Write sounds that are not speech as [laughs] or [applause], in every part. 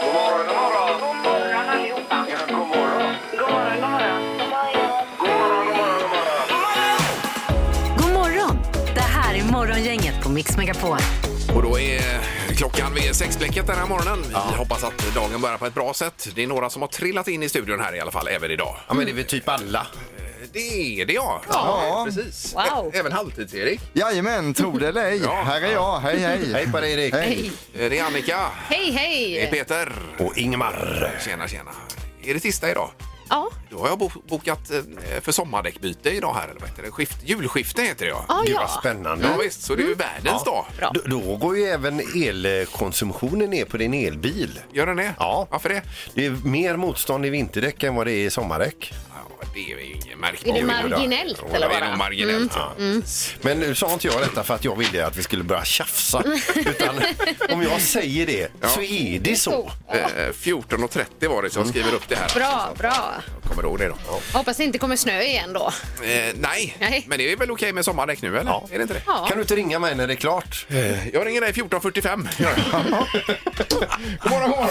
God morgon, god morgon. God morgon allihopa. Ja, god morgon. God morgon, god morgon. God morgon, god morgon, god morgon. God morgon! Det här är Morgongänget på Mix Megapol. Och då är klockan vid sexblecket den här morgonen. Vi hoppas att dagen börjar på ett bra sätt. Det är några som har trillat in i studion här i alla fall, även idag. Ja, men det är väl typ alla. Det är det ja. Ja. precis. Wow. Ä- Även halvtids-Erik. Jajamän, tro det eller ej. Ja. Här är jag, hej hej. Hej på dig, Erik. Hej. Eh, Det är Annika. Hej, Det är hej! Peter. Och Ingmar. Tjena, tjena. Är det sista idag? Ja, Då har jag bo- bokat eh, för sommardäckbyte idag här. Eller vad heter det? Skift, julskifte heter det ja. ja, Gud vad ja. Mm, Ja spännande. visst, så det är ju världens dag. Bra. Då, då går ju även elkonsumtionen ner på din elbil. Gör den det? Ja. Varför det? Det är mer motstånd i vinterdäck än vad det är i sommardäck. Ja, det är ju ingen Är det märkbar skillnad. marginellt Det eller är nog bara? Mm. marginellt. Ja. Men nu sa inte jag detta för att jag ville att vi skulle [laughs] börja tjafsa. Utan om jag säger det så är det så. Eh, 14.30 var det, så jag skriver upp det här. Bra, bra. Jag kommer ihåg det då. Hoppas det inte kommer snö igen då. Eh, nej. Nej. men det är väl okej med sommardäck nu eller? Ja. Är det inte det? Ja. Kan du inte ringa mig när det är klart? Eh, Jag ringer dig 14.45. gör jag. god morgon, god morgon.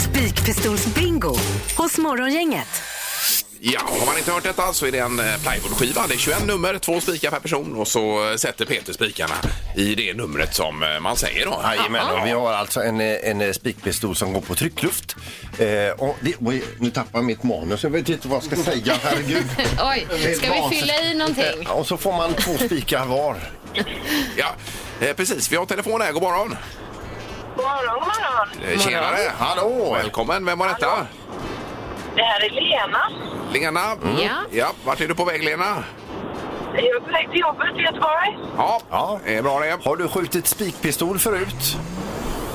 Spikpistolsbingo hos Morgongänget. Ja, har man inte hört detta så är det en eh, plywoodskiva. Det är 21 nummer, två spikar per person och så eh, sätter Peter spikarna i det numret som eh, man säger då. Jajamän, och vi har alltså en, eh, en eh, spikpistol som går på tryckluft. Eh, och det, oj, nu tappar jag mitt manus, jag vet inte vad jag ska säga, herregud. Oj, Det är ska vi vansinnigt. fylla i någonting? Eh, Och så får man två spikar var. Ja, eh, precis. Vi har telefon här. God morgon. God morgon, god morgon. Eh, Tjenare. Hallå! Välkommen. Vem var detta? Det här är Lena. Lena. Ja. ja. Vart är du på väg, Lena? Jag är på väg till jobbet i Göteborg. Ja, Ja. det är bra det. Har du skjutit spikpistol förut?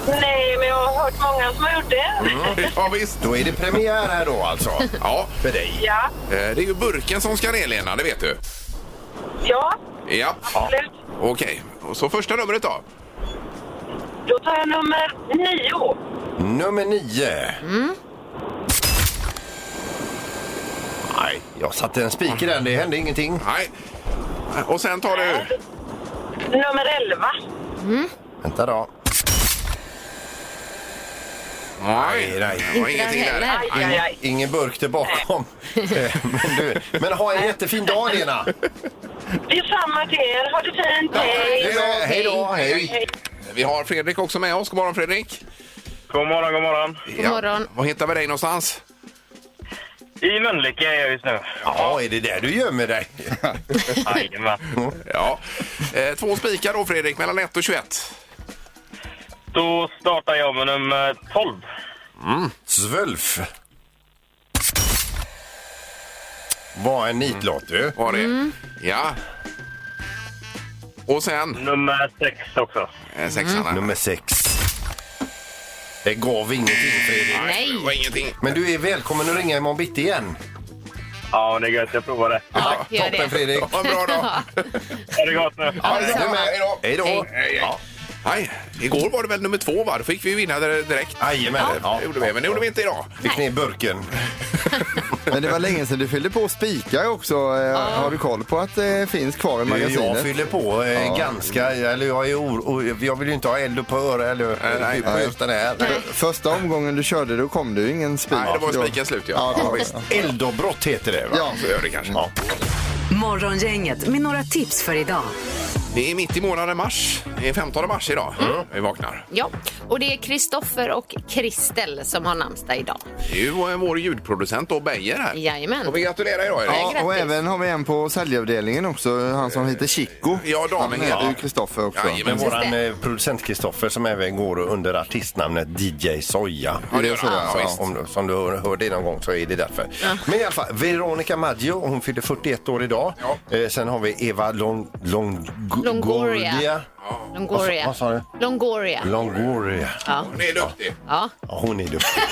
Nej, men jag har hört många som har gjort det. [laughs] Ja, visst. Då är det premiär här då alltså. Ja, För dig. Ja, eh, det är ju burken som ska ner, Lena. Det vet du. ja, Ja, absolut. okej. Och så första numret då. Då tar jag nummer nio. alltså. Nummer nio. Mm. Nej, jag satte en spik i den. Det hände ingenting. Nej. Och sen tar du... Nummer elva. Vänta då. Nej, nej. Det var ingenting Inte där. heller. Aj, aj, aj. Ingen burk [laughs] där bakom. Eh, men, du, men ha en jättefin dag Lena. Det är samma till er. Ha det fint. Hej Hej. då, Eh, hej då, hej. Vi har Fredrik också med oss. God morgon, Fredrik. God morgon, god morgon. Ja. morgon. Var hittar vi dig någonstans? I Mölnlycke är jag just nu. Ja, är det där du gömmer dig? Jajamän. Ja. Eh, Två spikar då, Fredrik, mellan 1 och 21. Då startar jag med nummer 12. Svölf. Vad en nitlott du. Var det? Ja. Och sen Nummer 6 också. eh, sexan. här. Nummer sex. Det gav ingenting Fredrik. Nej. Det var ingenting. Men du är välkommen att ringa imorgon bitti igen. Ja, men det är gött. Jag provar det. Ja, gör Toppen det. Fredrik. Ha en bra dag. Ha det gott nu. Ja, det är bra. du med. Hej då. Hej då. Ja. Nej, igår var det väl nummer två, va? Då fick vi ju vinna det direkt. Jajamän. Ja. Det gjorde vi, men det gjorde vi inte idag. Fick ner burken. Men det var länge sedan du fyllde på spikar också. Eh, Har du koll på att det finns kvar i Jag magasinet? fyller på eh, ganska, eller jag är or- och jag vill ju inte ha eld på öra eller nej, på nej. just den här. Första omgången du körde då kom du ingen spik. Nej, det var spiken slut, ja. Ja, det Ja, var- visst. Eldavbrott heter det va? Ja. Så gör det kanske. Ja. Morgongänget med några tips för idag. Det är mitt i månaden mars. Det är 15 mars idag. Vi vaknar. Ja, och det är Kristoffer och Kristel som har namnsdag idag. Det är ju eh, vår ljudproducent då, Beijer här. Jajamän. Och vi gratulerar idag, Erik. Ja, och grattis. även har vi en på säljavdelningen också, han som heter Chico. Ja, damen Han heter ja. ju Kristoffer också. Men Jajamän. våran eh, producent Kristoffer som även går under artistnamnet DJ Soja. Ja, det gör han. Ja, Så visst. om, du- som du hör- hörde någon gång så är det därför. Men i alla fall, Veronica Maggio, hon fyllde 41 år idag. Ja. Eh, sen har vi Eva Long, Long, Longoria. Longoria. Longoria. Vad sa- vad sa Longoria. Longoria. Hon är duktig. Ja, Ja, hon är duktig.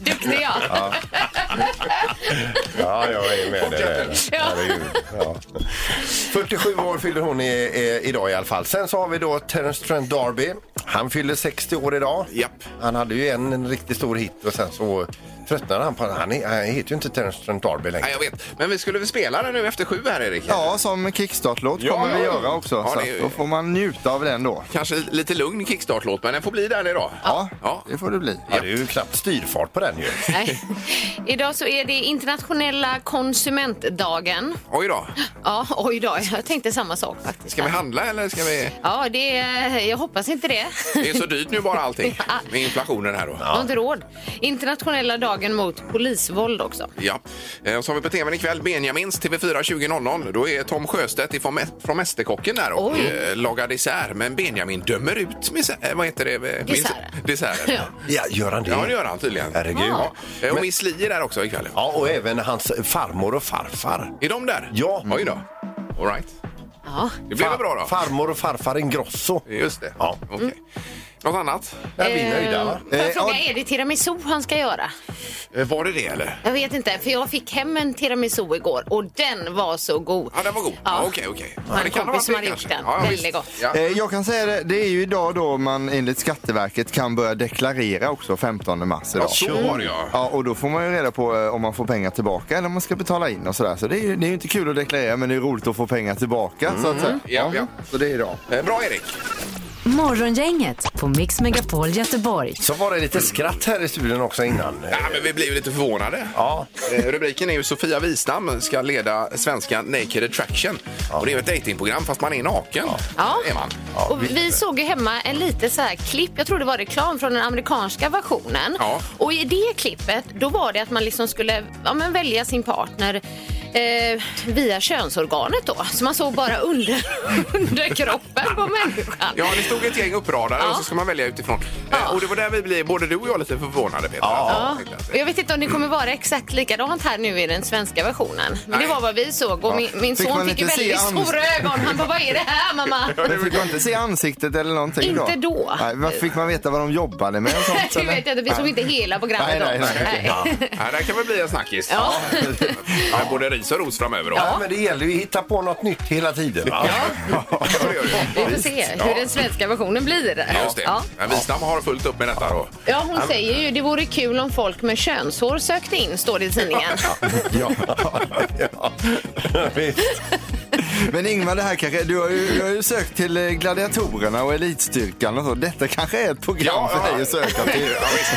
duktig jag. Ja, jag är med dig. Herregud. Ja. 47 år fyller hon i, i, idag i alla fall. Sen så har vi då Terence Trent D'Arby. Han fyller 60 år idag. Japp. Han hade ju en, en riktigt stor hit och sen så Tröttnade han på han, är- han heter ju inte Terrence Trent D'Arby längre. Nej, jag vet. Men vi skulle väl spela den nu efter sju här, Erik? Ja, som kickstart-låt Ja, kommer vi ja. göra också. Ja, så det- att då får man njuta av den då. Kanske lite lugn kickstart-låt, men den får bli där idag. Ja, Ja. det får det bli. Ja, det är ju knappt styrfart på den ju. Nej. Idag så är det internationella konsumentdagen. Oj då. Ja, oj då. Jag tänkte samma sak faktiskt. Ska vi handla eller ska vi... [laughs] Ja, det, är- jag hoppas inte det. Det är så dyrt nu bara allting med inflationen här då. Jag har inte råd. Internationella dagen mot polisvåld också. Ja. Eh, Och så har vi på tvn ikväll Benjamins TV4 20.00. Då är Tom Sjöstedt ifrån, Mä- från Mästerkocken där och Oj. eh, lagar isär. Men Benjamin dömer ut misär, eh, vad heter det? Eh, mis- Dessert. Desserten. Ja. Ja, gör han det? Ja, det gör han tydligen. Herregud. Ja. Ja. Eh, Och Miss Li är där också ikväll. och även hans farmor och farfar. Är de där? Ja. Oj då. All right. Ja. Det blir väl bra då? Farmor och farfar Ingrosso. Just det. Ja. Okej. Mm. Något annat? Där blir vi nöjda va? Får jag Eh, fråga, ja. är det tiramisu han ska göra? Eh, Var det det eller? Jag vet inte, för jag fick hem en tiramisu igår och den var så god. Ja, den var god. Ja, Okej, okej. Det var Ja, en kan ha kompis som varit hade det gjort kanske. den. Ja, ja, Väldigt visst. gott. Ja. Eh, Jag kan säga det, det är ju idag då man enligt Skatteverket kan börja deklarera också 15 mars Ja, idag. så var det ja. Ja, och då får man ju reda på eh, om man får pengar tillbaka eller om man ska betala in och sådär. Så det är ju det är ju inte kul att deklarera men det är roligt att få pengar tillbaka så att säga. Mm. Ja, ja. Så det är idag. Eh, Bra Erik. Morgongänget på Mix Megapol Göteborg. Så var det lite skratt här i studion också innan. Ja, men vi blir ju lite förvånade. Ja. Eh, Rubriken är ju Sofia Wistam ska leda svenska Naked Attraction. Och det är ju ett datingprogram fast man är naken. Ja. Är man. och vi såg ju hemma en liten så här klipp, jag tror det var reklam från den amerikanska versionen. Ja. Och i det klippet, då var det att man liksom skulle ja, men välja sin partner eh, via könsorganet då. Så man såg bara under, [laughs] under kroppen på människan. Ja, det stod ett gäng uppradare och så ska man välja utifrån. Eh, Och det var där vi blev, både du och jag, lite förvånade Peter. Ja. Och Jag vet inte om det kommer vara exakt likadant här nu i den svenska versionen. Men Nej. det var vad vi såg och min, min Fick man son fick ju inte se väldigt ans- stora ögon. Han bara, vad är det här mamma? Men fick man inte se ansiktet eller någonting Inte då. Nej, vad fick man veta vad de jobbade med [laughs] och sånt? Du vet jag inte, vi såg inte hela programmet Nej, nej, då. nej. Ja. Ja, där kan väl bli en snackis. Ja. Ja. Både ris och ros framöver. Då. Ja, men det gäller ju att hitta på något nytt hela tiden. Va? Ja, det gör det. Vi får se hur den svenska versionen blir. Just det. Ja. Men Wistam har fullt upp med detta då. Ja, hon säger ju det vore kul om folk med könshår sökte in, står det i tidningen. [laughs] Ja. ja. Visst. Men Ingmar, det här kanske, du har ju, du har ju sökt till eh, Gladiatorerna och Elitstyrkan och så. Detta kanske är ett program för dig att söka till. [laughs] Ja, visst.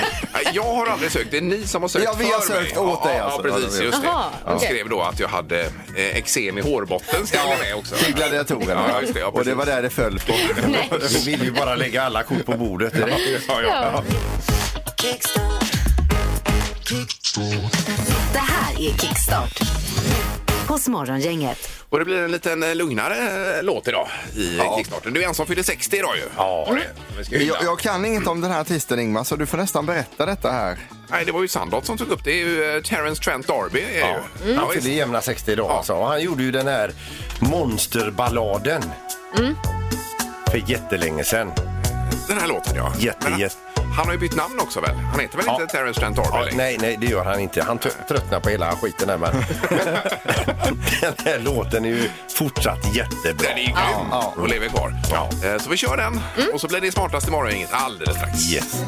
Jag har aldrig sökt, det är ni som har sökt Ja, vi har för sökt mig. åt dig ja, alltså. Ja, precis. Just det. Jaha, Jag okej. skrev då att jag hade eh, eksem i hårbotten. Skrev jag med också. Till Gladiatorerna. Ja, just det, ja, och det var precis. där det föll på. Nej. Vi vill ju bara lägga alla kort på bordet. Ja, ja. Det här är Kickstart hos Morgongänget. Och det blir en liten eh, lugnare eh, låt idag i ja. kickstarten. Du är en som fyller 60 idag ju. Ja. det- vi ska hylla. Jag, jag kan inget om den här artisten Ingmar, så du får nästan berätta detta här. Nej, det var ju Sandot som tog upp det. Det är ju eh, Terence Trent D'Arby. är Mm. Ja. Ju. Ja, Han visst. fyllde jämna 60 idag alltså. Och han gjorde ju den här monsterballaden. Mm. För jättelänge sedan. Den här låten, ja. Jätte, Men jätte- han- Han har ju bytt namn också väl? Han heter väl Ja. inte Terence Trent D'Arby Ja, längre? nej, nej, det gör han inte. Han tö- tröttnar på hela skiten [laughs] här men. den här låten är ju fortsatt jättebra. Den är ju grym och lever kvar. Eh, Så vi kör den och så blir det smartaste morgongänget alldeles strax. Yes.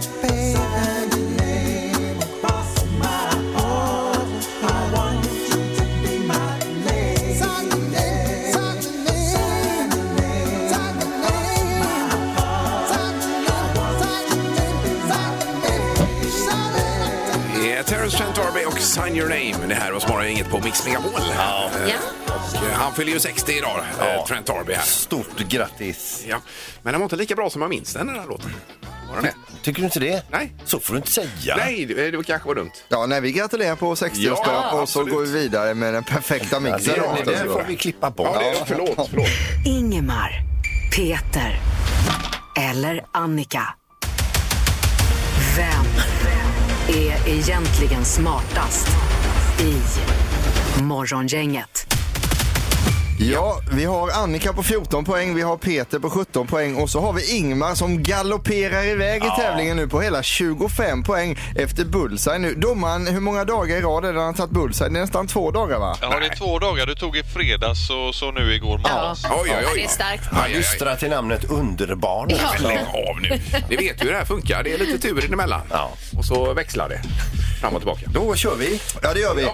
Eh, Terence Trent D'Arby och Sign Your Name. Det här hos morgongänget på Mix Megapol. Ja. Han fyller ju 60 idag, eh, Ja. Trent D'Arby här. Stort grattis. Ja. Men den var inte lika bra som jag minns den, den här låten. Var den det? Tycker du inte det? Nej. Så får du inte säga. Nej, det, det kanske var dumt. Ja, nej, vi gratulerar på 60-årsdagen Ja, och så absolut. går vi vidare med den perfekta Ja, mixen. det, då. det, det där får vi klippa bort. Ja, det, förlåt, förlåt. Ingemar, Peter eller Annika. Vem är egentligen smartast i Morgongänget? Ja, vi har Annika på 14 poäng, vi har Peter på 17 poäng och så har vi Ingmar som galopperar iväg i tävlingen nu på hela 25 poäng efter bullseye nu. Domaren, hur många dagar i rad är det han har tagit bullseye? Det är nästan två dagar va? Ja, det är två dagar. Du tog i fredags och så nu igår morgon. Oj, oj, oj. Det är starkt. Aj, aj, Han aj. lystrar till namnet Underbarn. Ja. Lägg av nu. Ni vet ju hur det här funkar. Det är lite turer emellan. Ja. Och så växlar det fram och tillbaka. Då kör vi. Ja, det gör vi.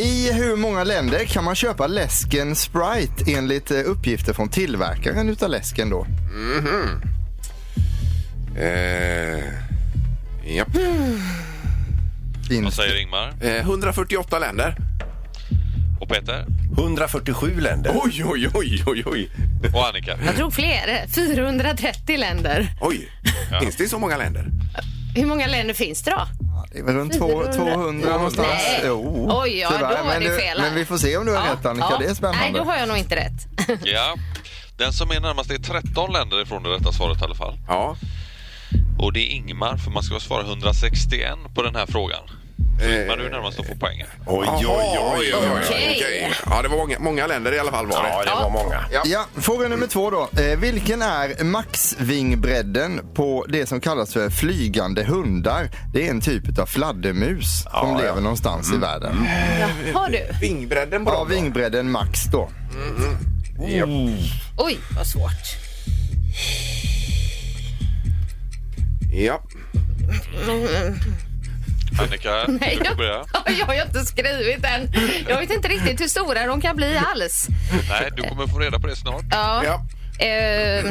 I hur många länder kan man köpa läsken Sprite enligt eh, uppgifter från tillverkaren utav läsken då? Eh, japp. Vad Finns säger Ingmar? Eh, 148 länder. Och Peter? 147 länder. Oj, oj, oj, oj, oj. Och Annika? Jag tror fler. 430 länder. Oj, finns det så många länder? Hur många länder finns det då? det är väl runt två- 200 någonstans? Nej. Oj, ja, tyvärr. då var men det du- fel här. Men vi får se om du har rätt Annika, Ja. det är spännande. Nej, då har jag nog inte rätt. Ja. Den som är närmast är 13 länder ifrån det rätta svaret i alla fall. Ja. Och det är Ingmar, för man ska svara 161 på den här frågan. Så Ingmar, Eh, du är närmast att få poängen. Oj, oj, Jaha, oj. Okej. Ja, det var många, många länder i alla fall var det. Ja, det var många. Ja. Ja, fråga nummer två då. Eh, vilken är maxvingbredden på det som kallas för flygande hundar? Det är en typ av fladdermus som lever någonstans i världen. Har du? Vingbredden på Ja, dem då? vingbredden max då. Oj, vad svårt. Ja. Annika, Nej, du får börja. [laughs] jag, jag har ju inte skrivit än. Jag vet inte riktigt hur stora de kan bli alls. Nej, du kommer få reda på det snart. Ja. ja. Eh,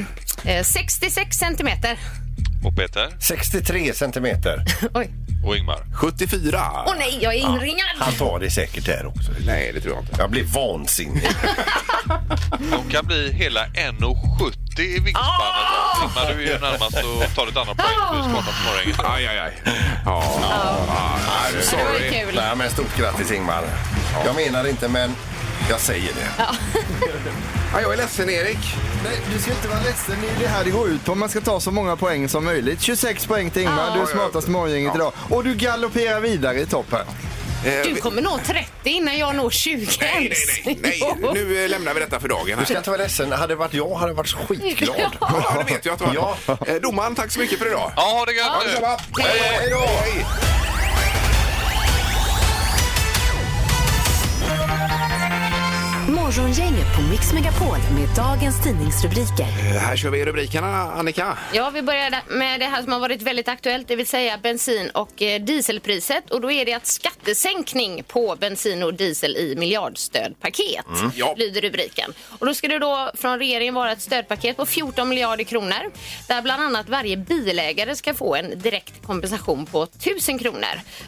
eh, 66 centimeter. Och Peter 63 centimeter. Oj. och Ingmar. 74. Åh nej, jag är inringad. Han tar det säkert där också. Nej, det tror jag inte. Jag blir vansinnig. De kan bli hela 1,70 i vingspannet. Ingmar, du är ju närmast att ta ett annat poäng. Du är smartast på morgonen. Aj, aj, aj. Ja. I'm Det var ju sorry. kul. Nej, men stort grattis Ingmar. Jag menar inte, men jag säger det. Ja, jag är ledsen, Erik. Nej, du ska inte vara ledsen. Det är det här det går ut på. Man ska ta så många poäng som möjligt. 26 poäng till Ingmar. Du är smartast i morgongänget idag. Och du galopperar vidare i toppen. Eh, Du kommer nå 30 innan jag når 20 Nej, nej, nej. nej. [laughs] Nu eh, lämnar vi detta för dagen. Du Här. ska inte vara ledsen. Hade det varit jag hade jag varit skitglad. Ja, det vet jag att det var. Eh, Domaren, tack så mycket för idag. Ja, ha det gött nu! Detsamma. Hej, hej då! Hej. Morgongänget på Mix Megapol med dagens tidningsrubriker. Eh, Här kör vi rubrikerna, Annika. Ja, vi börjar med det här som har varit väldigt aktuellt, det vill säga bensin och eh, dieselpriset. Och då är det att skattesänkning på bensin och diesel i miljardstödpaket, Mm. Ja. lyder rubriken. Och då ska det då från regeringen vara ett stödpaket på 14 miljarder kronor, där bland annat varje bilägare ska få en direkt kompensation på 1000 kronor.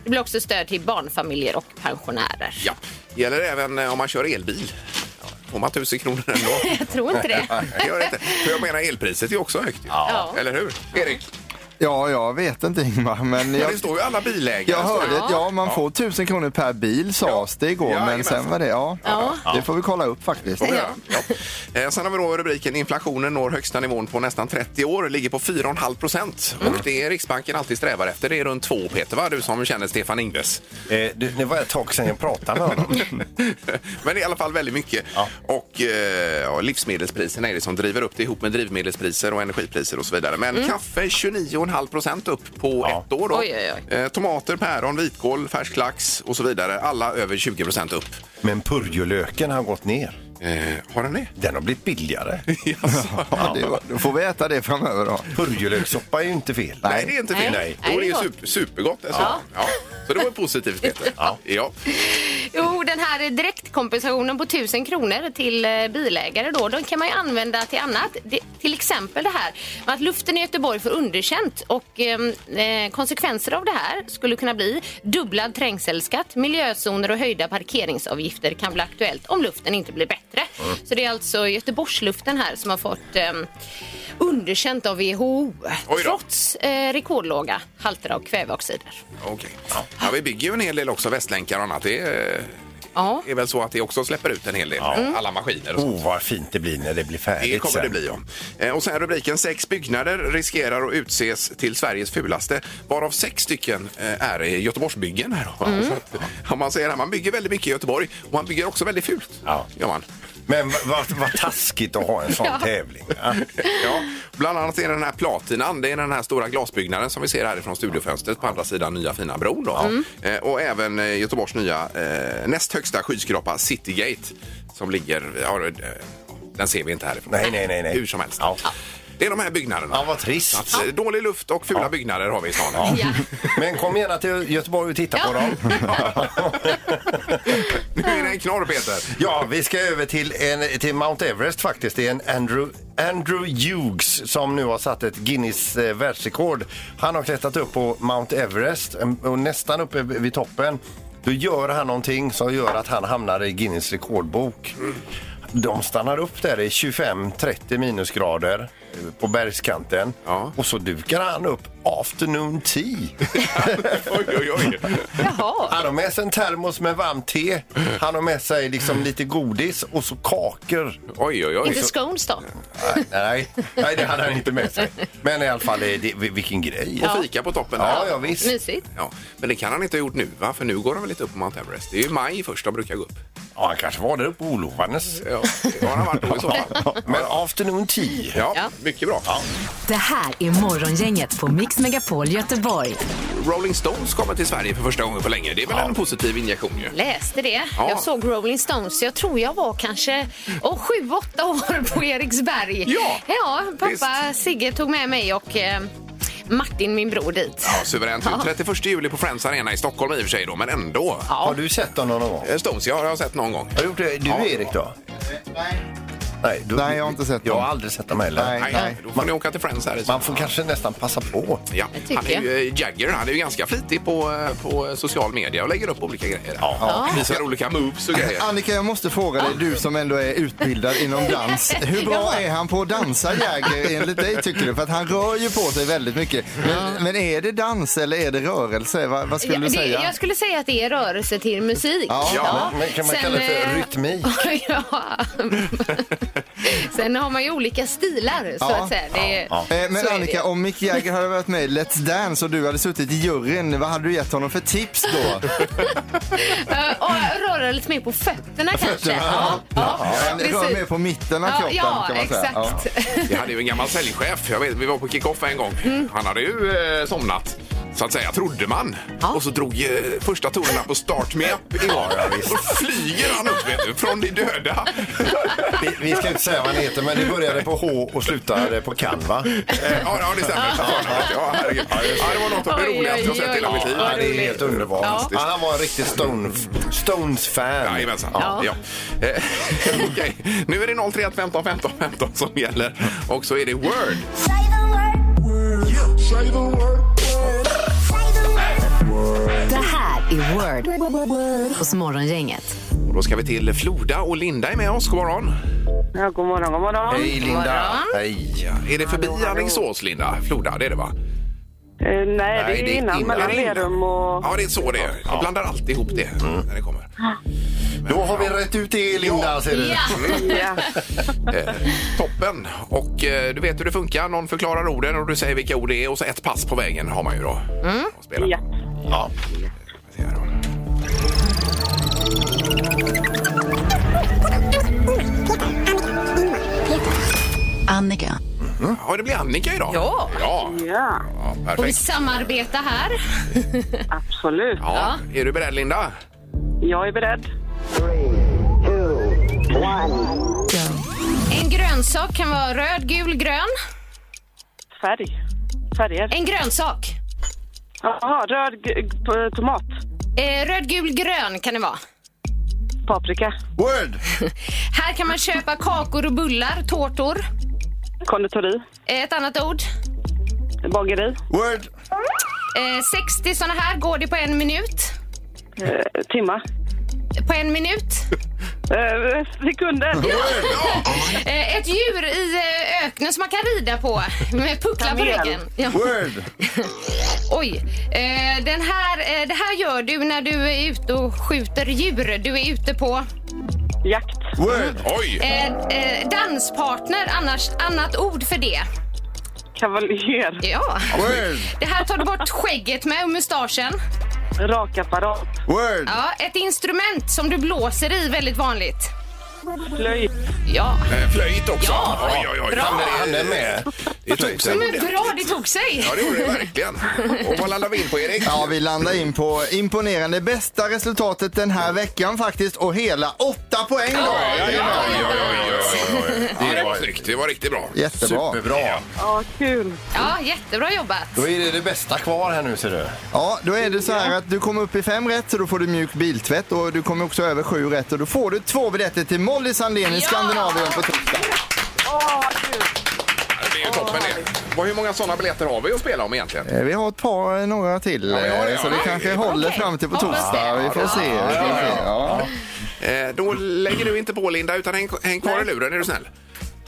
Det blir också stöd till barnfamiljer och pensionärer. Ja. Gäller även eh, om man kör elbil. Får man 1000 kronor ändå? [laughs] Jag tror inte det. Nej, det gör det inte. För jag menar, elpriset är ju också högt. ju. Ja. Eller hur, Erik? Ja, jag vet inte Ingmar, men Ja. jag... Det står ju alla bilägare. Jag hörde att ja, man Ja. får 1000 kronor per bil sades det igår, Ja, men sen jajamensan. var det, ja. Ja. Det får vi kolla upp faktiskt. Ja. Eh, Sen har vi då rubriken Inflationen når högsta nivån på nästan 30 år, ligger på 4,5 procent. Och det är Riksbanken alltid strävar efter. Det är runt 2 Peter, va? Du som känner Stefan Ingves. Eh, det, det var ett tag sedan jag pratade med honom. [laughs] Men i alla fall väldigt mycket. Och eh, ja, livsmedelspriserna är det som driver upp det ihop med drivmedelspriser och energipriser och så vidare. Men kaffe 29,5 procent upp på Ja. ett år. Då. Mm. Oj, oj, Eh, tomater, päron, vitkål, färsk lax och så vidare. Alla över 20 procent upp. Men purjolöken har gått ner. Eh, har den det? [laughs] Den har blivit billigare. Jaså? Ja, det, var- då får vi äta det framöver då. Purjolökssoppa är ju inte fel. Nej, det är inte fel. Nej. Då är det ju Nej, det är super, supergott dessutom. Ja. Så det var [laughs] ju positivt, Peter. Ja. Ja. Jo, den här direktkompensationen på 1000 kronor till eh, bilägare då, den kan man ju använda till annat. Det, till exempel det här med att luften i Göteborg får underkänt och ehm, eh, konsekvenser av det här skulle kunna bli dubblad trängselskatt, miljözoner och höjda parkeringsavgifter kan bli aktuellt om luften inte blir bättre. Mm. Så det är alltså Göteborgsluften här som har fått ehm, underkänt av WHO Oj då. trots eh, rekordlåga halter av kväveoxider. Okej. Ja, vi bygger ju en hel del också, västlänkar och annat. Det är, Ja. är väl så att det också släpper ut en hel del, alla maskiner. Och så. Oh, vad fint det blir när det blir färdigt Det kommer det sen. bli, ja. Eh, Och sen rubriken Sex byggnader riskerar att utses till Sveriges fulaste, varav sex stycken eh, är i Mm. Göteborgsbyggen. Här då. Så att, ja, man, [laughs] säger att man bygger väldigt mycket i Göteborg och man bygger också väldigt fult. Ja. Gör man. Men v- vad vad taskigt att ha en sån tävling. Ja. Ja, bland annat är det den här platinan, det är den här stora glasbyggnaden som vi ser härifrån studiofönstret på andra sidan nya fina bron. Då. Mm. Eh, och även eh, Göteborgs nya eh, näst högsta skyskrapa Citygate som ligger, ja, eh, den ser vi inte härifrån. Nej, nej, nej, nej. Hur som helst. Ja. Det är de här byggnaderna. Ja, vad trist. Så Att, eh, Dålig luft och fula byggnader har vi i stan. Ja. [laughs] Men kom gärna till Göteborg och titta på dem. [laughs] Nu är det en knorr Peter. Ja, vi ska över till, en, till Mount Everest faktiskt. Det är en Andrew, Andrew Hughes som nu har satt ett Guinness eh, världsrekord. Han har klättrat upp på Mount Everest em, och nästan uppe vid toppen. Då gör han någonting som gör att han hamnar i Guinness rekordbok. De stannar upp där i 25-30 minusgrader eh, på bergskanten Ja. och så dukar han upp afternoon tea. oj, oj, oj. Jaha. Han har med sig en termos med varmt te. Han har med sig liksom lite godis och så kakor. Oj, oj, oj. Inte scones då? Nej, nej, nej, det hade han inte med sig. Men i alla fall, eh, det, vilken grej. Ja, Och fika på toppen. ja, där. visst. Mysigt. Ja, men det kan han inte ha gjort nu, va? för nu går han väl inte upp på Mount Everest. Det är ju maj först de brukar gå upp. Ja, han kanske var där uppe olovandes. Ja, det har han varit då i så [laughs] fall. Men afternoon tea. Ja, Ja. mycket bra. Det här är Morgongänget på Mix Megapol Göteborg. Rolling Stones kommer till Sverige för första gången på länge. Det är väl en positiv injektion ju. Läste det. Ja. Jag såg Rolling Stones. Jag tror jag var kanske oh, sju, åtta år på Eriksberg. Ja. ja pappa Sigge tog med mig och eh, Martin, min bror, dit. Ja, suveränt. 31 juli på Friends Arena i Stockholm i och för sig då, men ändå. Har du sett honom någon gång? Eh, Stones, jag har jag sett någon gång. Har du gjort det? Du Erik då? Nej, du, Nej, jag har inte sett Jag har dem. aldrig sett dem heller. Nej. Nej, då får ni åka till Friends här. i Man får kanske nästan passa på. Ja, Jag tycker han är ju, eh, Jagger han är ju ganska flitig på, eh, på social media och lägger upp olika grejer. Ja. Visar olika moves och grejer. Annika, jag måste fråga dig, du som ändå är utbildad inom dans. Hur bra är han på att dansa Jäger enligt dig tycker du? För att han rör ju på sig väldigt mycket. Men, men är det dans eller är det rörelse? Va, vad skulle Ja, du det, säga? Jag skulle säga att det är rörelse till musik. Ja, Men, men kan man Sen, kalla det för eh, rytmik? [laughs] ja. Sen har man ju olika stilar, så Ja. att säga. Det, är- Eh, så är Men det. Annika, om Mick Jagger hade varit med i Let's Dance och du hade suttit i juryn, vad hade du gett honom för tips [laughs] då? Eh, och röra lite mer på fötterna kanske. Ja, Han rör precis. mer på mitten av Ja, kroppen ja, kan man säga. exakt. Vi hade ju en gammal säljchef. Jag vet, vi var på kick-off en gång. Mm. Han hade ju eh, somnat. Så att säga, trodde man. Och så drog eh, första tonerna på Start Me Up i år. Och flyger han upp vet du, från de döda. Vi, vi ska inte säga vad han heter, men det började på H och slutade på K, va? Eh, ja, ja, det stämmer. Ja, herregud. Ja, det var något av det Oj, oj, roligaste jag sett i hela oj. mitt liv. Ja, det är helt underbart. Ja. Ja, han var en riktig Stone, Stones-fan. Jajamensan. Ja. Ja. Ja. Eh, [laughs] okej. Nu är det 031 15 15 15 som gäller. Och så är det Word. Det här är Word hos Morgongänget. Och då ska vi till Floda och Linda är med oss. God morgon. Ja, god morgon, god morgon. Hej, Linda. Hej. Ja, Är det förbi Alingsås, Linda? Floda, det är det va? Eh, nej, det är ju innan mellan Är det innan? Lerum och... Ja, det är så det är. Jag blandar alltid ihop det Mm. när det kommer. Då har vi rätt ut det, Linda. Ser du. Ja. Ja. Eh, toppen! Och eh, du vet hur det funkar. Någon förklarar orden och du säger vilka ord det är och så ett pass på vägen har man ju då. Mm. Spela. Ja. Ja. Vi ser här då. Annika. Ja, det blir Annika idag. Ja. Ja, ja, ja Och vi perfekt. samarbetar här. absolut. Ja. Är du beredd Linda? Jag är beredd. En grönsak kan vara röd, gul, grön. Färg. Färger. En grönsak. Jaha, röd g- g- tomat. Eh, röd, gul, grön kan det vara. Paprika. Word! Här kan man köpa kakor och bullar, tårtor. Konditori. Eh, ett annat ord. Bageri. Word! Eh, 60 såna här går det på en minut. Eh, timma. På en minut. Eh, sekunder. Eh, ett djur i eh, öknen som man kan rida på med pucklar på Kamel. ryggen. Ja. Word! Oj. Eh, den här, eh, det här gör du när du är ute och skjuter djur. Du är ute på Jakt. Word! Oj! eh, eh, danspartner, annars annat ord för det. Kavaljer. Ja. Word! Det här tar du bort skägget med och mustaschen. Rakapparat. Word! Ja, ett instrument som du blåser i, väldigt vanligt. Flöjt. Ja. Eh, Flöjt också. Ja, oj, oj, oj. bra. Han Han är med. Det tog sig Men ordentligt. bra, det tog sig. Ja, det gjorde det verkligen. Och vad landade vi in på, Erik? Ja, vi landar in på imponerande bästa resultatet den här veckan faktiskt och hela åtta poäng då. Oj, oj, oj, oj, oj. Det var snyggt. Det var riktigt bra. Jättebra. Superbra. Ja, kul. Ja, jättebra jobbat. Då är det det bästa kvar här nu ser du. Ja, då är det så här att du kommer upp i fem rätt så då får du mjuk biltvätt och du kommer också över sju rätt och då får du två biljetter till Molly Sandén i Ja! Skandinavien på torsdag. Åh, vad kul. Det är ju toppen det. Vad- Hur många sådana biljetter har vi att spela om egentligen? Eh, Vi har ett par, eh, några till, ja, ja, eh, så det ja, kanske ja, håller okej. fram till på Hoppas torsdag. det. Vi får se. Vi får se. Ja. Eh, då lägger du inte på, Linda, utan häng, häng kvar i luren, är du snäll.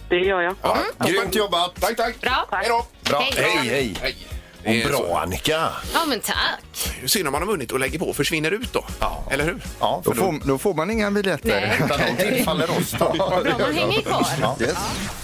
Det gör jag. Ja, Grymt jobbat. Tack, tack. Bra. Hej då. Bra. Hej. Hej, hej. Hej. Det är Och bra Annika. Ja, men tack. så- Synd om man har vunnit och lägger på och försvinner ut då. Eller hur? Ja, Då, får, då får man inga [laughs] biljetter. utan de [laughs] [laughs] tillfaller oss då. Bra, man hänger kvar. Yes.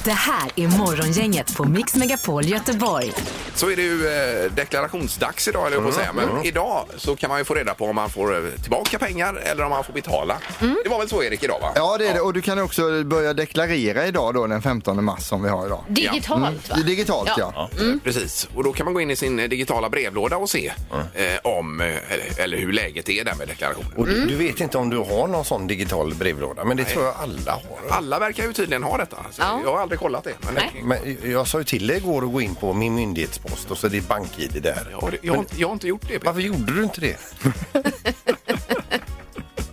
Det här är Morgongänget på Mix Megapol Göteborg. Så är det ju eh, deklarationsdags idag, eller jag på att säga. Men idag så kan man ju få reda på om man får eh, tillbaka pengar eller om man får betala. Det var väl så, Erik, idag va? Ja, det är det. Och du kan också börja deklarera idag då, den 15 mars som vi har idag. Digitalt, va? Digitalt ja. Eh, Precis. Och då kan man gå in i sin eh, digitala brevlåda och se eh, om, eh, eller, eller hur läget är där med deklarationen. Och du, du vet inte om du har någon sån digital brevlåda, men det tror jag alla har. Alla verkar ju tydligen ha detta. Så Ja. Jag har aldrig kollat det. Men Nej. Men jag sa ju till dig igår att gå in på min myndighetspost och så är det bank-id där. Jag, har, jag, har, jag har inte gjort det. Peter. Varför gjorde du inte det? [laughs]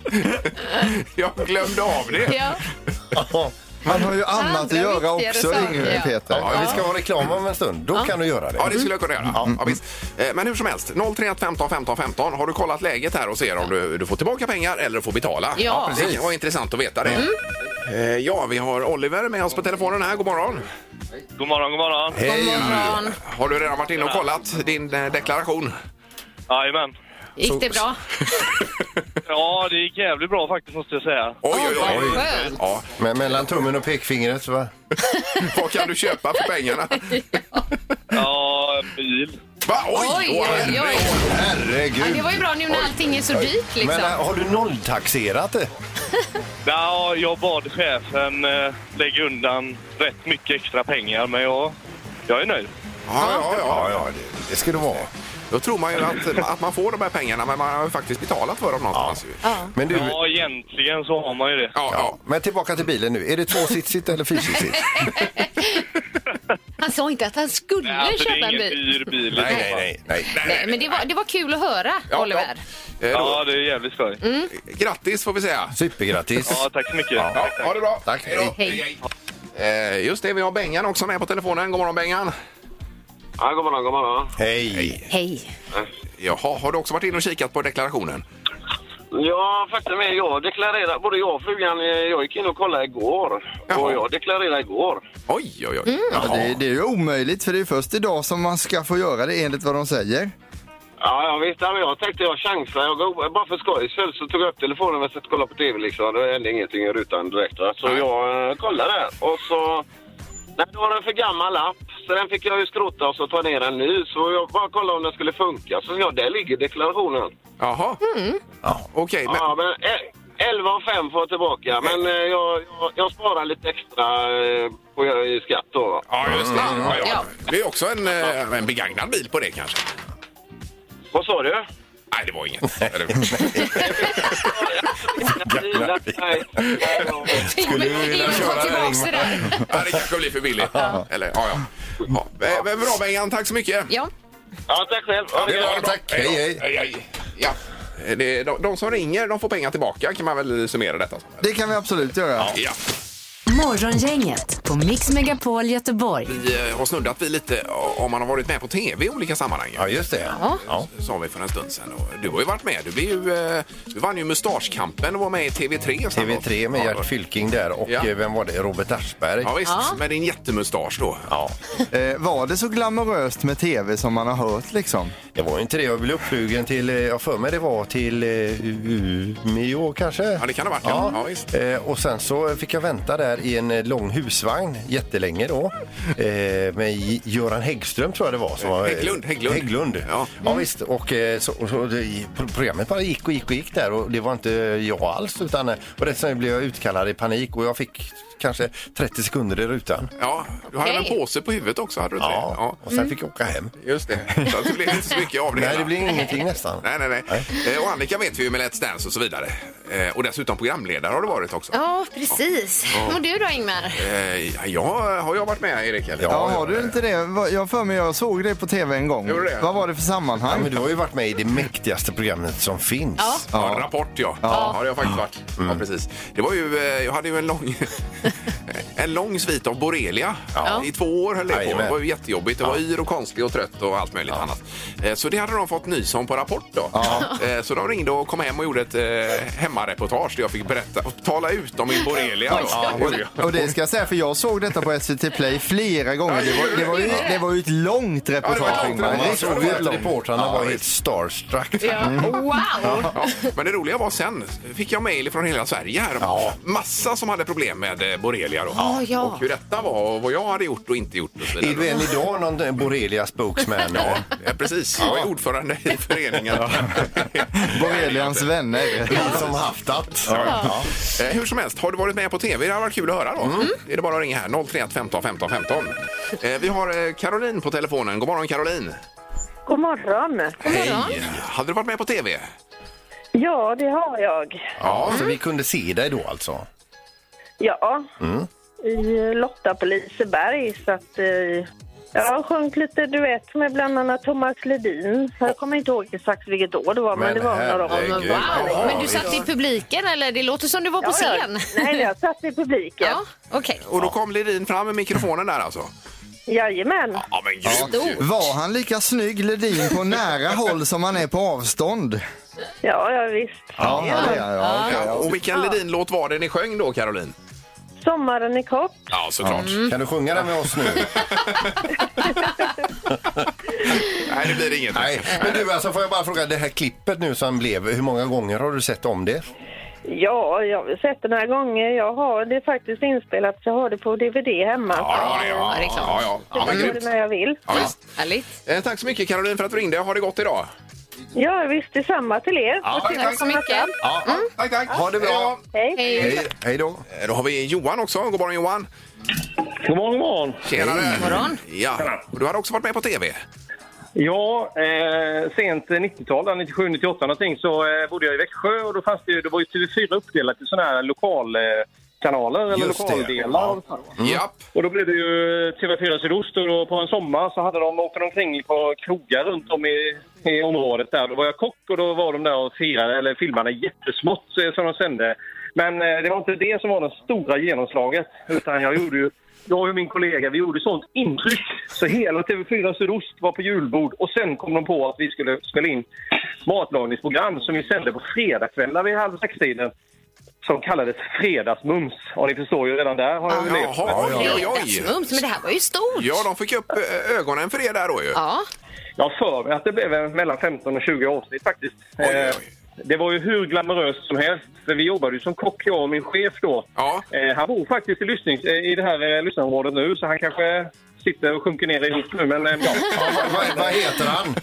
Jag glömde av det. Ja. Man har ju annat att Andra göra viktigare också, saker, Yngve ja. Peter. Ja, vi ska ha reklam om en stund. Då kan du göra det. Ja, det skulle jag kunna göra. Ja, visst. Eh, Men hur som helst, 031 15 15 15. Har du kollat läget här och ser om du, du får tillbaka pengar eller får betala? Ja. precis. Det var intressant att veta det. Eh, Ja, vi har Oliver med oss på telefonen här. God morgon. God morgon, god morgon. Hej. morgon. Har du redan varit inne och kollat din eh, deklaration? Jajamän. Gick det bra? Ja, det gick jävligt bra faktiskt måste jag säga. Oj, oj, Vad oj. skönt. Ja, Men mellan tummen och pekfingret, va? vad kan du köpa för pengarna? Ja, en bil. Va? Oj, Oj, åh, oj, herregud. oj. Ja, Herregud! det var ju bra nu när allting är så dyrt Men liksom. äh, har du nolltaxerat det? Ja, jag bad chefen eh, lägga undan rätt mycket extra pengar, men jag, jag är nöjd. Ja, ja, ja. ja, det, det ska det vara. Då tror man ju att, att man får de här pengarna, men man har ju faktiskt betalat för dem någonstans. ju. Men du, Ja, egentligen så har man ju det. Ja, ja. men tillbaka till bilen nu. Är det tvåsitsigt eller fyrsitsigt? Han sa inte att han skulle Alltså, det köpa en är ingen bil. dyr bil. i så fall. nej, nej. Nej, men det var, det var kul att höra, Ja, Oliver. ja. Eh, då, Ja, det är jävligt skoj. Grattis får vi säga. Supergrattis! Ja, tack så mycket. Ja, ha det bra. Tack, hej. Hej. Eh, just det, vi har Bengan också med på telefonen. God morgon Bengan. Ja, god morgon, god morgon. Hej! Hej. Jaha, har du också varit inne och kikat på deklarationen? Ja, faktum är jag deklarerar, både jag och frugan, eh, jag gick in och kollade igår. Jaha. Och jag deklarerade igår. Oj, oj, oj. Mm. Ja, det, det är ju omöjligt för det är först idag som man ska få göra det enligt vad de säger. Ja, jag visst. Ja, men jag tänkte jag chansar. Jag går, bara för skojs skull så tog jag upp telefonen och satt och kollade på TV liksom. Det hände ingenting i rutan direkt. Va? Så jag eh, kollade där. och så... Nej, det var en för gammal lapp. Så den fick jag ju skrota och så ta ner en ny. Så jag bara kollade om den skulle funka. Så ja, där ligger deklarationen. Jaha. Mm. Ja, Okej, men Ja, men e- 11 och 5 får jag tillbaka. Men eh, jag, jag, jag sparar lite extra eh, på, i skatt då. va? ja, just det. Mm. Ja, ja. Ja. Det är också en, eh, en begagnad bil på det kanske. Vad sa du? Nej, det var inget. Eller- Nej. Skulle du [laughs] vilja köra tillbaka det där? Ja, det kanske blir för billigt. Eller, ja, ja. ja. Eh, men Bra Bengan, tack så mycket. Ja. Ja, tack själv. Ha det Det gött. var bra. Tack. då. Hej, hej. hej. Ja. Eh, det- De, de som ringer de får pengar tillbaka kan man väl summera detta som. eller? Det kan vi absolut göra. Ja. Morgongänget på Mix Megapol Göteborg. Vi eh, har snuddat vid lite eh, om man har varit med på tv i olika sammanhang. ju. Ja, just det. Ja. Ja. sa vi för en stund sedan. Och Du har ju varit med. Du, blev ju, eh, du vann ju Mustaschkampen och var med i TV3. sen då. TV3 med Ja, Gert Fylking där och Ja. eh, vem var det? Robert Aschberg. Ja, visst. Ja. Med din jättemustasch då. Ja. Eh, var det så glamoröst med tv som man har hört liksom? Det var ju inte det. Jag blev uppflugen till, eh, jag för mig det var till eh, Umeå kanske. Ja, det kan det ha varit, ja. Ja, visst. Eh, och sen så fick jag vänta där i en eh, lång husvagn husvagn jättelänge då. Eh, med J- Göran Häggström tror jag det var. Som var eh, Hägglund, Hägglund. Hägglund. Ja. Mm. Ja. visst. Och eh, så, och så, det- pro- programmet bara gick och gick och gick där och det var inte jag alls. Utan, eh, och rätt som det blev jag utkallad i panik och jag fick kanske 30 sekunder i rutan. Ja, du hade Okej. en påse på huvudet också, hade du inte det? Ja, och sen fick jag åka hem. Just det. Så att det blev inte så mycket av Mm. det Nej, hela. det blir ingenting nästan. [laughs] Nej, nej, nej. Eh, Och Annika vet vi ju med Let's Dance och så vidare. Eh, Och dessutom programledare har du varit också. Ja, precis. Och du då, Ingmar? Eh, ja, har jag varit med Erik? Eller? Ja, har du inte det? Va- Jag har för mig jag såg dig på tv en gång. Gjorde det? Vad var det för Ja, sammanhang? men du har ju varit med i det mäktigaste programmet som finns. Ja. Ja. Rapport ja. Ja, det har jag faktiskt varit. Ja, precis. Det var ju, eh, jag hade ju en lång, [laughs] en lång svit av borrelia. Ja. I två år höll det på. Det Jajamän. var ju jättejobbigt. Det var yr och konstig och trött och allt möjligt annat. Eh, Så det hade de fått nys om på Rapport då. Eh, Så de ringde och kom hem och gjorde ett eh, hemmareportage där jag fick berätta och tala ut om min borrelia. då. Ja, gjorde jag. Och det ska jag säga, för jag såg detta på SVT Play flera gånger. Det var, det var, ju, det var ju ett långt det var ett reportage. långt Ingmar. Man reportage. Riktigt såg ju att långt. reportrarna var helt starstruck. Wow! Mm. Ja, men det roliga var sen fick jag mejl från hela Sverige här. Ja. Massa som hade problem med eh, borrelia då. Ja, ja. Och hur detta var och vad jag hade gjort och inte gjort och så Är vidare. du än idag någon borrelia spokesman? Ja. Ja, precis. Jag är ordförande i föreningen. [laughs] Borrelians vänner. Som haftat. Eh, Hur som helst, har du varit med på tv? Det har varit kul att höra då. Det är det bara att ringa här. 031 15 15 15. Eh, Vi har eh, Caroline på telefonen. God morgon Caroline! God morgon. Hej! Hade du varit med på tv? Ja, det har jag. Ja, så vi kunde se dig då alltså. Ja, Mm. i Lotta på Liseberg. Så att, eh, jag har sjungit lite duett med bland annat Thomas Ledin. Jag kommer inte ihåg exakt vilket år det var, men, Men det var några år. herregud. Men Ja, wow! Men du visst. satt i publiken, eller? Det låter som du var på scen. Nej, jag satt i publiken. Ja, okej. Och då kom Ledin fram med mikrofonen där alltså? Jajamän. Ja men grymt ju. Var han lika snygg Ledin på nära håll som han är på avstånd? Ja, ja visst. Ja, det är jag. Ja, och vilken Ledin-låt var det ni sjöng då Caroline? Mm. Sommaren är kort. Ja såklart. Mm. Kan du sjunga den med oss nu? Nej det blir inget. Nej, men du alltså får jag bara fråga det här klippet nu som blev, hur många gånger har du sett om det? Ja, jag har sett den här gånger. Jag har det faktiskt inspelat, så jag har det på DVD hemma. Ja, det Ja, var det. det är Ja, klart. Mm. ja, ja. ja, jag men gör grymt. det när jag vill. Ja, visst. Härligt. Eh, Tack så mycket Caroline för att du ringde. Ha det gott idag. Ja, visst. Detsamma till er. Och till Tack så mycket. Ja, Mm. Tack, tack. Ha det bra. Hej. Hej. Hej, hej då. Eh, Då har vi Johan också. God morgon Johan. God morgon, morgon. Tjenare. God morgon. Ja, och du har också varit med på TV. Ja, eh, sent 90-tal, där, 97, 98 någonting, så eh, bodde jag i Växjö och då fanns det ju, då var ju TV4 uppdelat i sådana här lokalkanaler eh, kanaler eller Just det. lokaldelar. och så här, va. Japp. Och då blev det ju TV4 Sydost och då på en sommar så hade de, åkte de omkring på krogar runt om i, i området där. Då var jag kock och då var de där och firade, eller filmade jättesmått eh, som de sände. Men eh, det var inte det som var det stora genomslaget utan jag gjorde ju jag och min kollega vi gjorde sånt intryck så hela TV4 Sydost var på julbord och sen kom de på att vi skulle spela in matlagningsprogram som vi sände på fredagskvällar vid halv sex-tiden som kallades Fredagsmums. Och ni förstår ju redan där har jag ju levt med. Jaha, oj, oj, oj. Fredagsmums, men det här var ju stort. Ja, de fick upp eh, ögonen för er där då ju. Ja, Jag har för mig att det blev en- mellan 15 och 20 avsnitt faktiskt. oj, oj. Eh, Det var ju hur glamoröst som helst, för vi jobbade ju som kock, jag och min chef då. Ja. Eh, Han bor faktiskt i, lyssnings, eh, i det här eh, lyssnarområdet nu, så han kanske sitter och sjunker ner ihop nu. Men, eh, ja. Vad, vad heter han?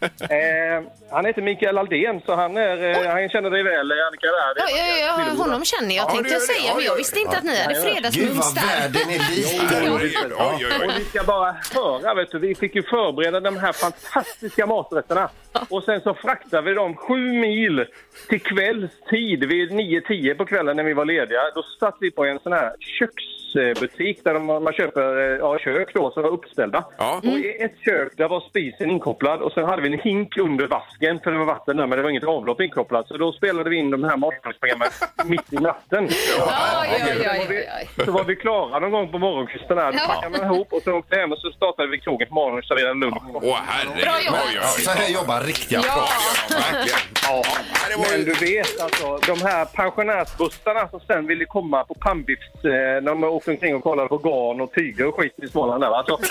eh, han heter Mikael Aldén, så han, är, eh, han känner dig väl, eh, Annika. Där. ja, ja, ja, honom känner jag Ja, tänkte det jag gör det. säga, Ja, men gör jag det. visste inte att ni hade Gud fredagsmums vad där. världen är lik. Oj, oj, oj. Vi ska bara höra, vet du. Vi fick ju förbereda de här fantastiska maträtterna. Och sen så fraktade vi dem sju mil till kvällstid. Vid 9-10 på kvällen när vi var lediga. Då satt vi på en sån här köksbutik där de, man köper eh, ja, kök då som var uppställda. Ja. Och i ett kök där var spisen inkopplad och sen hade vi en hink under vasken för det var vatten där men det var inget avlopp inkopplat. Så då spelade vi in de här matlagningsprogrammen mitt i [laughs] natten. Ja, ja, ja, ja, ja, ja. Så var vi klara någon gång på morgonkvisten här. Då Ja. packade man ihop och så åkte hem och så startade vi krogen på morgonen och serverade lunch. Åh, herregud. Bra jobbat. Oj, oj, Så här jobbar riktiga Ja. proffs. Ja, verkligen. Ja. Ja, det var Men du ju... vet alltså, de här pensionärsbussarna som sen ville komma på pannbiffs, eh, när de åkte omkring och kollade på garn och tyger och skit i Småland där va? alltså, Då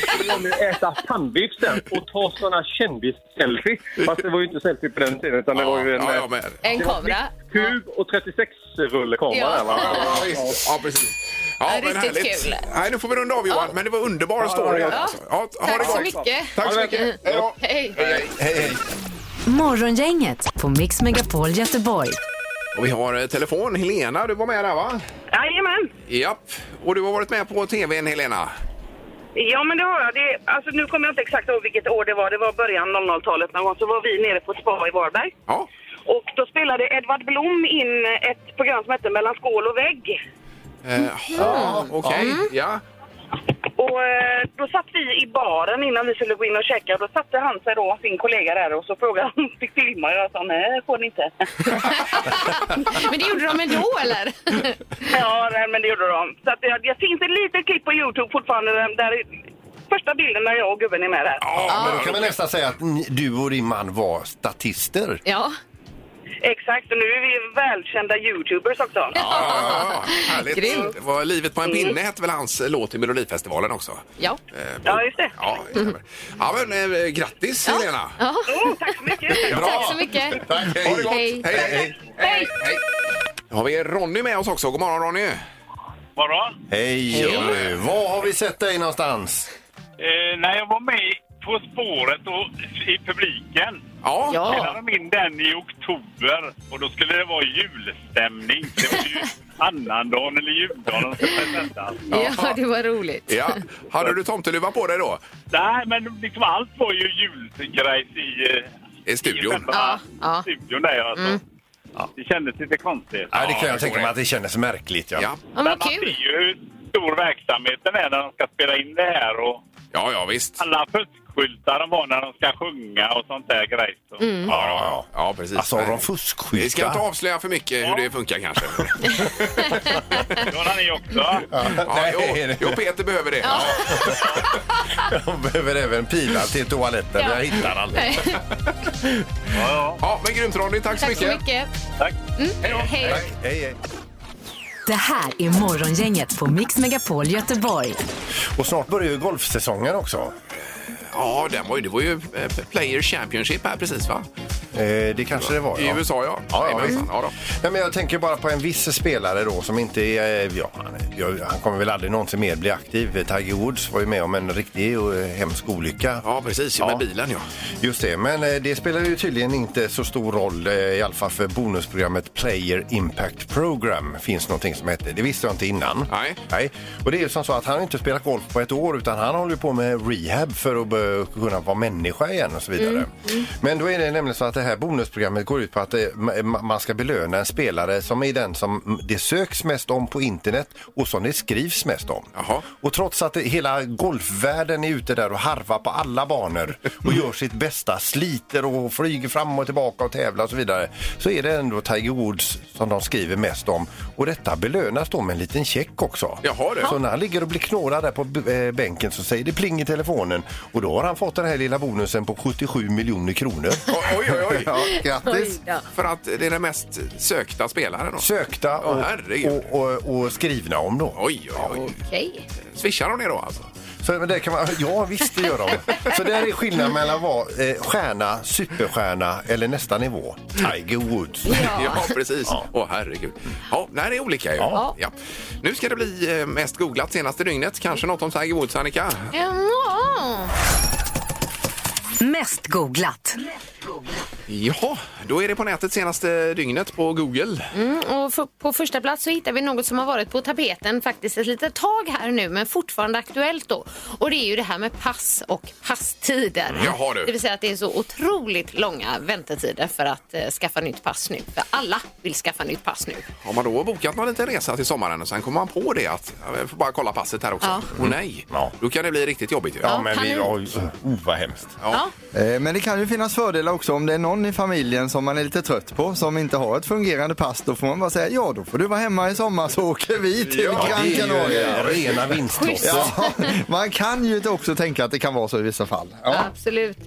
skulle de ju äta pannbiff sen och ta sådana kändis-selfie. Fast det var ju inte selfie på den tiden utan det var ju en Ja, eh, ja, men... En kamera. kub och 36-rulle kamera Ja. där va? Ja, visst. ja, precis. Ja, men riktigt härligt. kul. Nej, nu får vi runda av Johan, men det var underbar story. Ja. alltså. Ja, ha det Tack så gott. mycket. Tack så mycket. Hej då. Hej. [laughs] Hej, hej. Morgongänget på Mix Megapol Göteborg. Och vi har eh, telefon. Helena, du var med där va? Jajamän. Japp. Och du har varit med på tvn Helena. Ja, men det har jag. Det, alltså, nu kommer jag inte exakt ihåg vilket år det var. Det var början av 00-talet någon gång. Så var vi nere på ett spa i Varberg. Ja. Och då spelade Edvard Blom in ett program som hette Mellan skål och vägg. Eh, ja, Okej, ja. Och eh, då satt vi i baren innan vi skulle gå in och käka. Då satte han sig då, sin kollega där, och så frågade han om vi fick filma. Jag sa nej, det får ni [laughs] inte. Mm. Men det gjorde de ändå, eller? ja, nej, men det gjorde de. Så att eh, det, det finns ett litet klipp på Youtube fortfarande där, där första bilden där jag och gubben är med där. Ja, Men då kan man nästan säga att ni- du och din man var statister. Ja. Exakt, och nu är vi välkända Youtubers också. ja, ja. Härligt. Grymt. Det var Livet på en pinne hette väl hans eh, låt i Melodifestivalen också? Ja. Eh, Ja, just det. Ja, jajamän. ja men eh, grattis Helena! ja. Oh, tack så é mycket! É Tack så mycket. Tack. Ha det gott! Hej. hej, hej! hej. hej. Nu har vi Ronny med oss också. God morgon Ronny! Morgon. Hej, Jonny. Var har vi sett dig någonstans? Eh, när jag var med På spåret och i publiken Ja, Ja. spelade de in den i oktober och då skulle det vara julstämning. Det var ju annandagen eller juldagen som skulle presenteras. Ja, det var roligt. ja. Hade du tomteluva på dig då? Nej, men liksom allt var ju julgrejs i, eh, I i studion? själva Ja, Mm. ja. studion där. Alltså. Det kändes lite konstigt. Ja, det kan jag det tänka går mig det. att det kändes märkligt. Ja. Mm. Ja, Ja, Men men man kul. ser ju hur stor verksamheten är när de ska spela in det här och ja, ja visst. alla fuskskyltar de har när de ska sjunga och sånt där grejs. Så. Ja, ja, Mm. ja. ja precis. Alltså, har de Vi ska inte fuskskyltar? avslöja för mycket hur det [laughs] funkar kanske. Det har ni också. Ja, jo, jo, Peter behöver det. Ja. De behöver även pila till toaletten. Jag hittar aldrig. Ja, men grymt Ronny, tack så Tack så mycket. mycket. Tack. Mm, hej. Tack. Hej, hej. Det här är Morgongänget på Mix Megapol Göteborg. Och snart börjar ju golfsäsongen också. Ja, den var ju, det var ju eh, Player Championship här precis va? Eh, det kanske det var, I USA ja. Ja, ja, Jajamensan. visst. ja, då. Ja, men jag tänker bara på en viss spelare då som inte är... eh, Ja, han, är- ja, han kommer väl aldrig någonsin mer bli aktiv. Tiger Woods var ju med om en riktig och hemsk olycka. ja precis. Ja. Ja. Med bilen ja. Just det, men eh, det spelar ju tydligen inte så stor roll eh, i alla fall för bonusprogrammet Player Impact Program finns någonting som heter. Det visste jag inte innan. Nej. Nej. Och det är ju som så att han har inte spelat golf på ett år utan han håller ju på med rehab för att börja kunna vara människa igen och så vidare. Men då är det nämligen så att det här bonusprogrammet går ut på att eh, ma- ma- man ska belöna en spelare som är den som det söks mest om på internet och som det skrivs mest om. Jaha. Och trots att det, hela golfvärlden är ute där och harvar på alla banor [laughs] och gör sitt bästa, sliter och flyger fram och tillbaka och tävlar och så vidare, så är det ändå Tiger Woods som de skriver mest om. Och detta belönas då med en liten check också. Jaha, du. Så när han ligger och blir knådad där på b- eh, bänken så säger det pling i telefonen och då har han fått den här lilla bonusen på 77 miljoner kronor. Oj, oj, [laughs] oj. Ja, grattis! För att det är den mest sökta spelaren då. Sökta Åh, och, herregud. och, och, och skrivna om då. Oj, oj, oj. Okej. Swishar de det då alltså? Så men det kan man, ja, visst det gör de. Så där är skillnaden mellan att vara eh, stjärna, superstjärna eller nästa nivå. Tiger Woods. Ja, Ja. precis. Åh herregud. Ja, nej, det är olika ju. Ja. Ja. Nu ska det bli eh, mest googlat senaste dygnet. Kanske något om Tiger Woods, Annika? Ja. Mest googlat. Ja, då är det på nätet senaste dygnet på Google. Mm, Och för, på första plats så hittar vi något som har varit på tapeten faktiskt ett litet tag här nu men fortfarande aktuellt då. Och det är ju det här med pass och passtider. Jaha, du. Det vill säga att det är så otroligt långa väntetider för att eh, skaffa nytt pass nu. För alla vill skaffa nytt pass nu. Har man då bokat någon liten resa till sommaren och sen kommer man på det att ja, jag får bara kolla passet här också. Ja. Och nej, Ja. då kan det bli riktigt jobbigt ju. Ja, men kan vi... du- Oj, oh, vad hemskt. Ja. Eh, Men det kan ju finnas fördelar också om det är någon i familjen som man är lite trött på som inte har ett fungerande pass. Då får man bara säga ja, då får du vara hemma i sommar så åker vi till Gran det är ju eh, Canaria. rena vinstlotter. Ja, [laughs] man kan ju också tänka att det kan vara så i vissa fall. Ja. Absolut.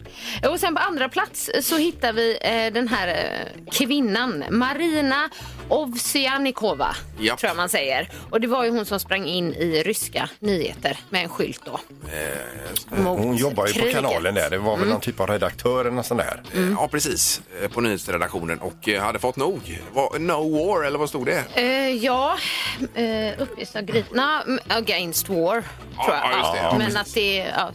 Och sen på andra plats så hittar vi eh, den här eh, kvinnan, Marina Ovsianikova, Japp. tror jag man säger. Och det var ju hon som sprang in i ryska nyheter med en skylt då. Mot Hon jobbar ju på kriget. kanalen där. Det var väl någon typ av redaktör eller något sånt där. Ja, precis. pris eh, på nyhetsredaktionen och eh, hade fått nog. Vad- No war, eller vad stod det? Eh, ja, uh, uppges av gripna mm, against war, tror jag. ja, just det. Ja, men att det... Ja.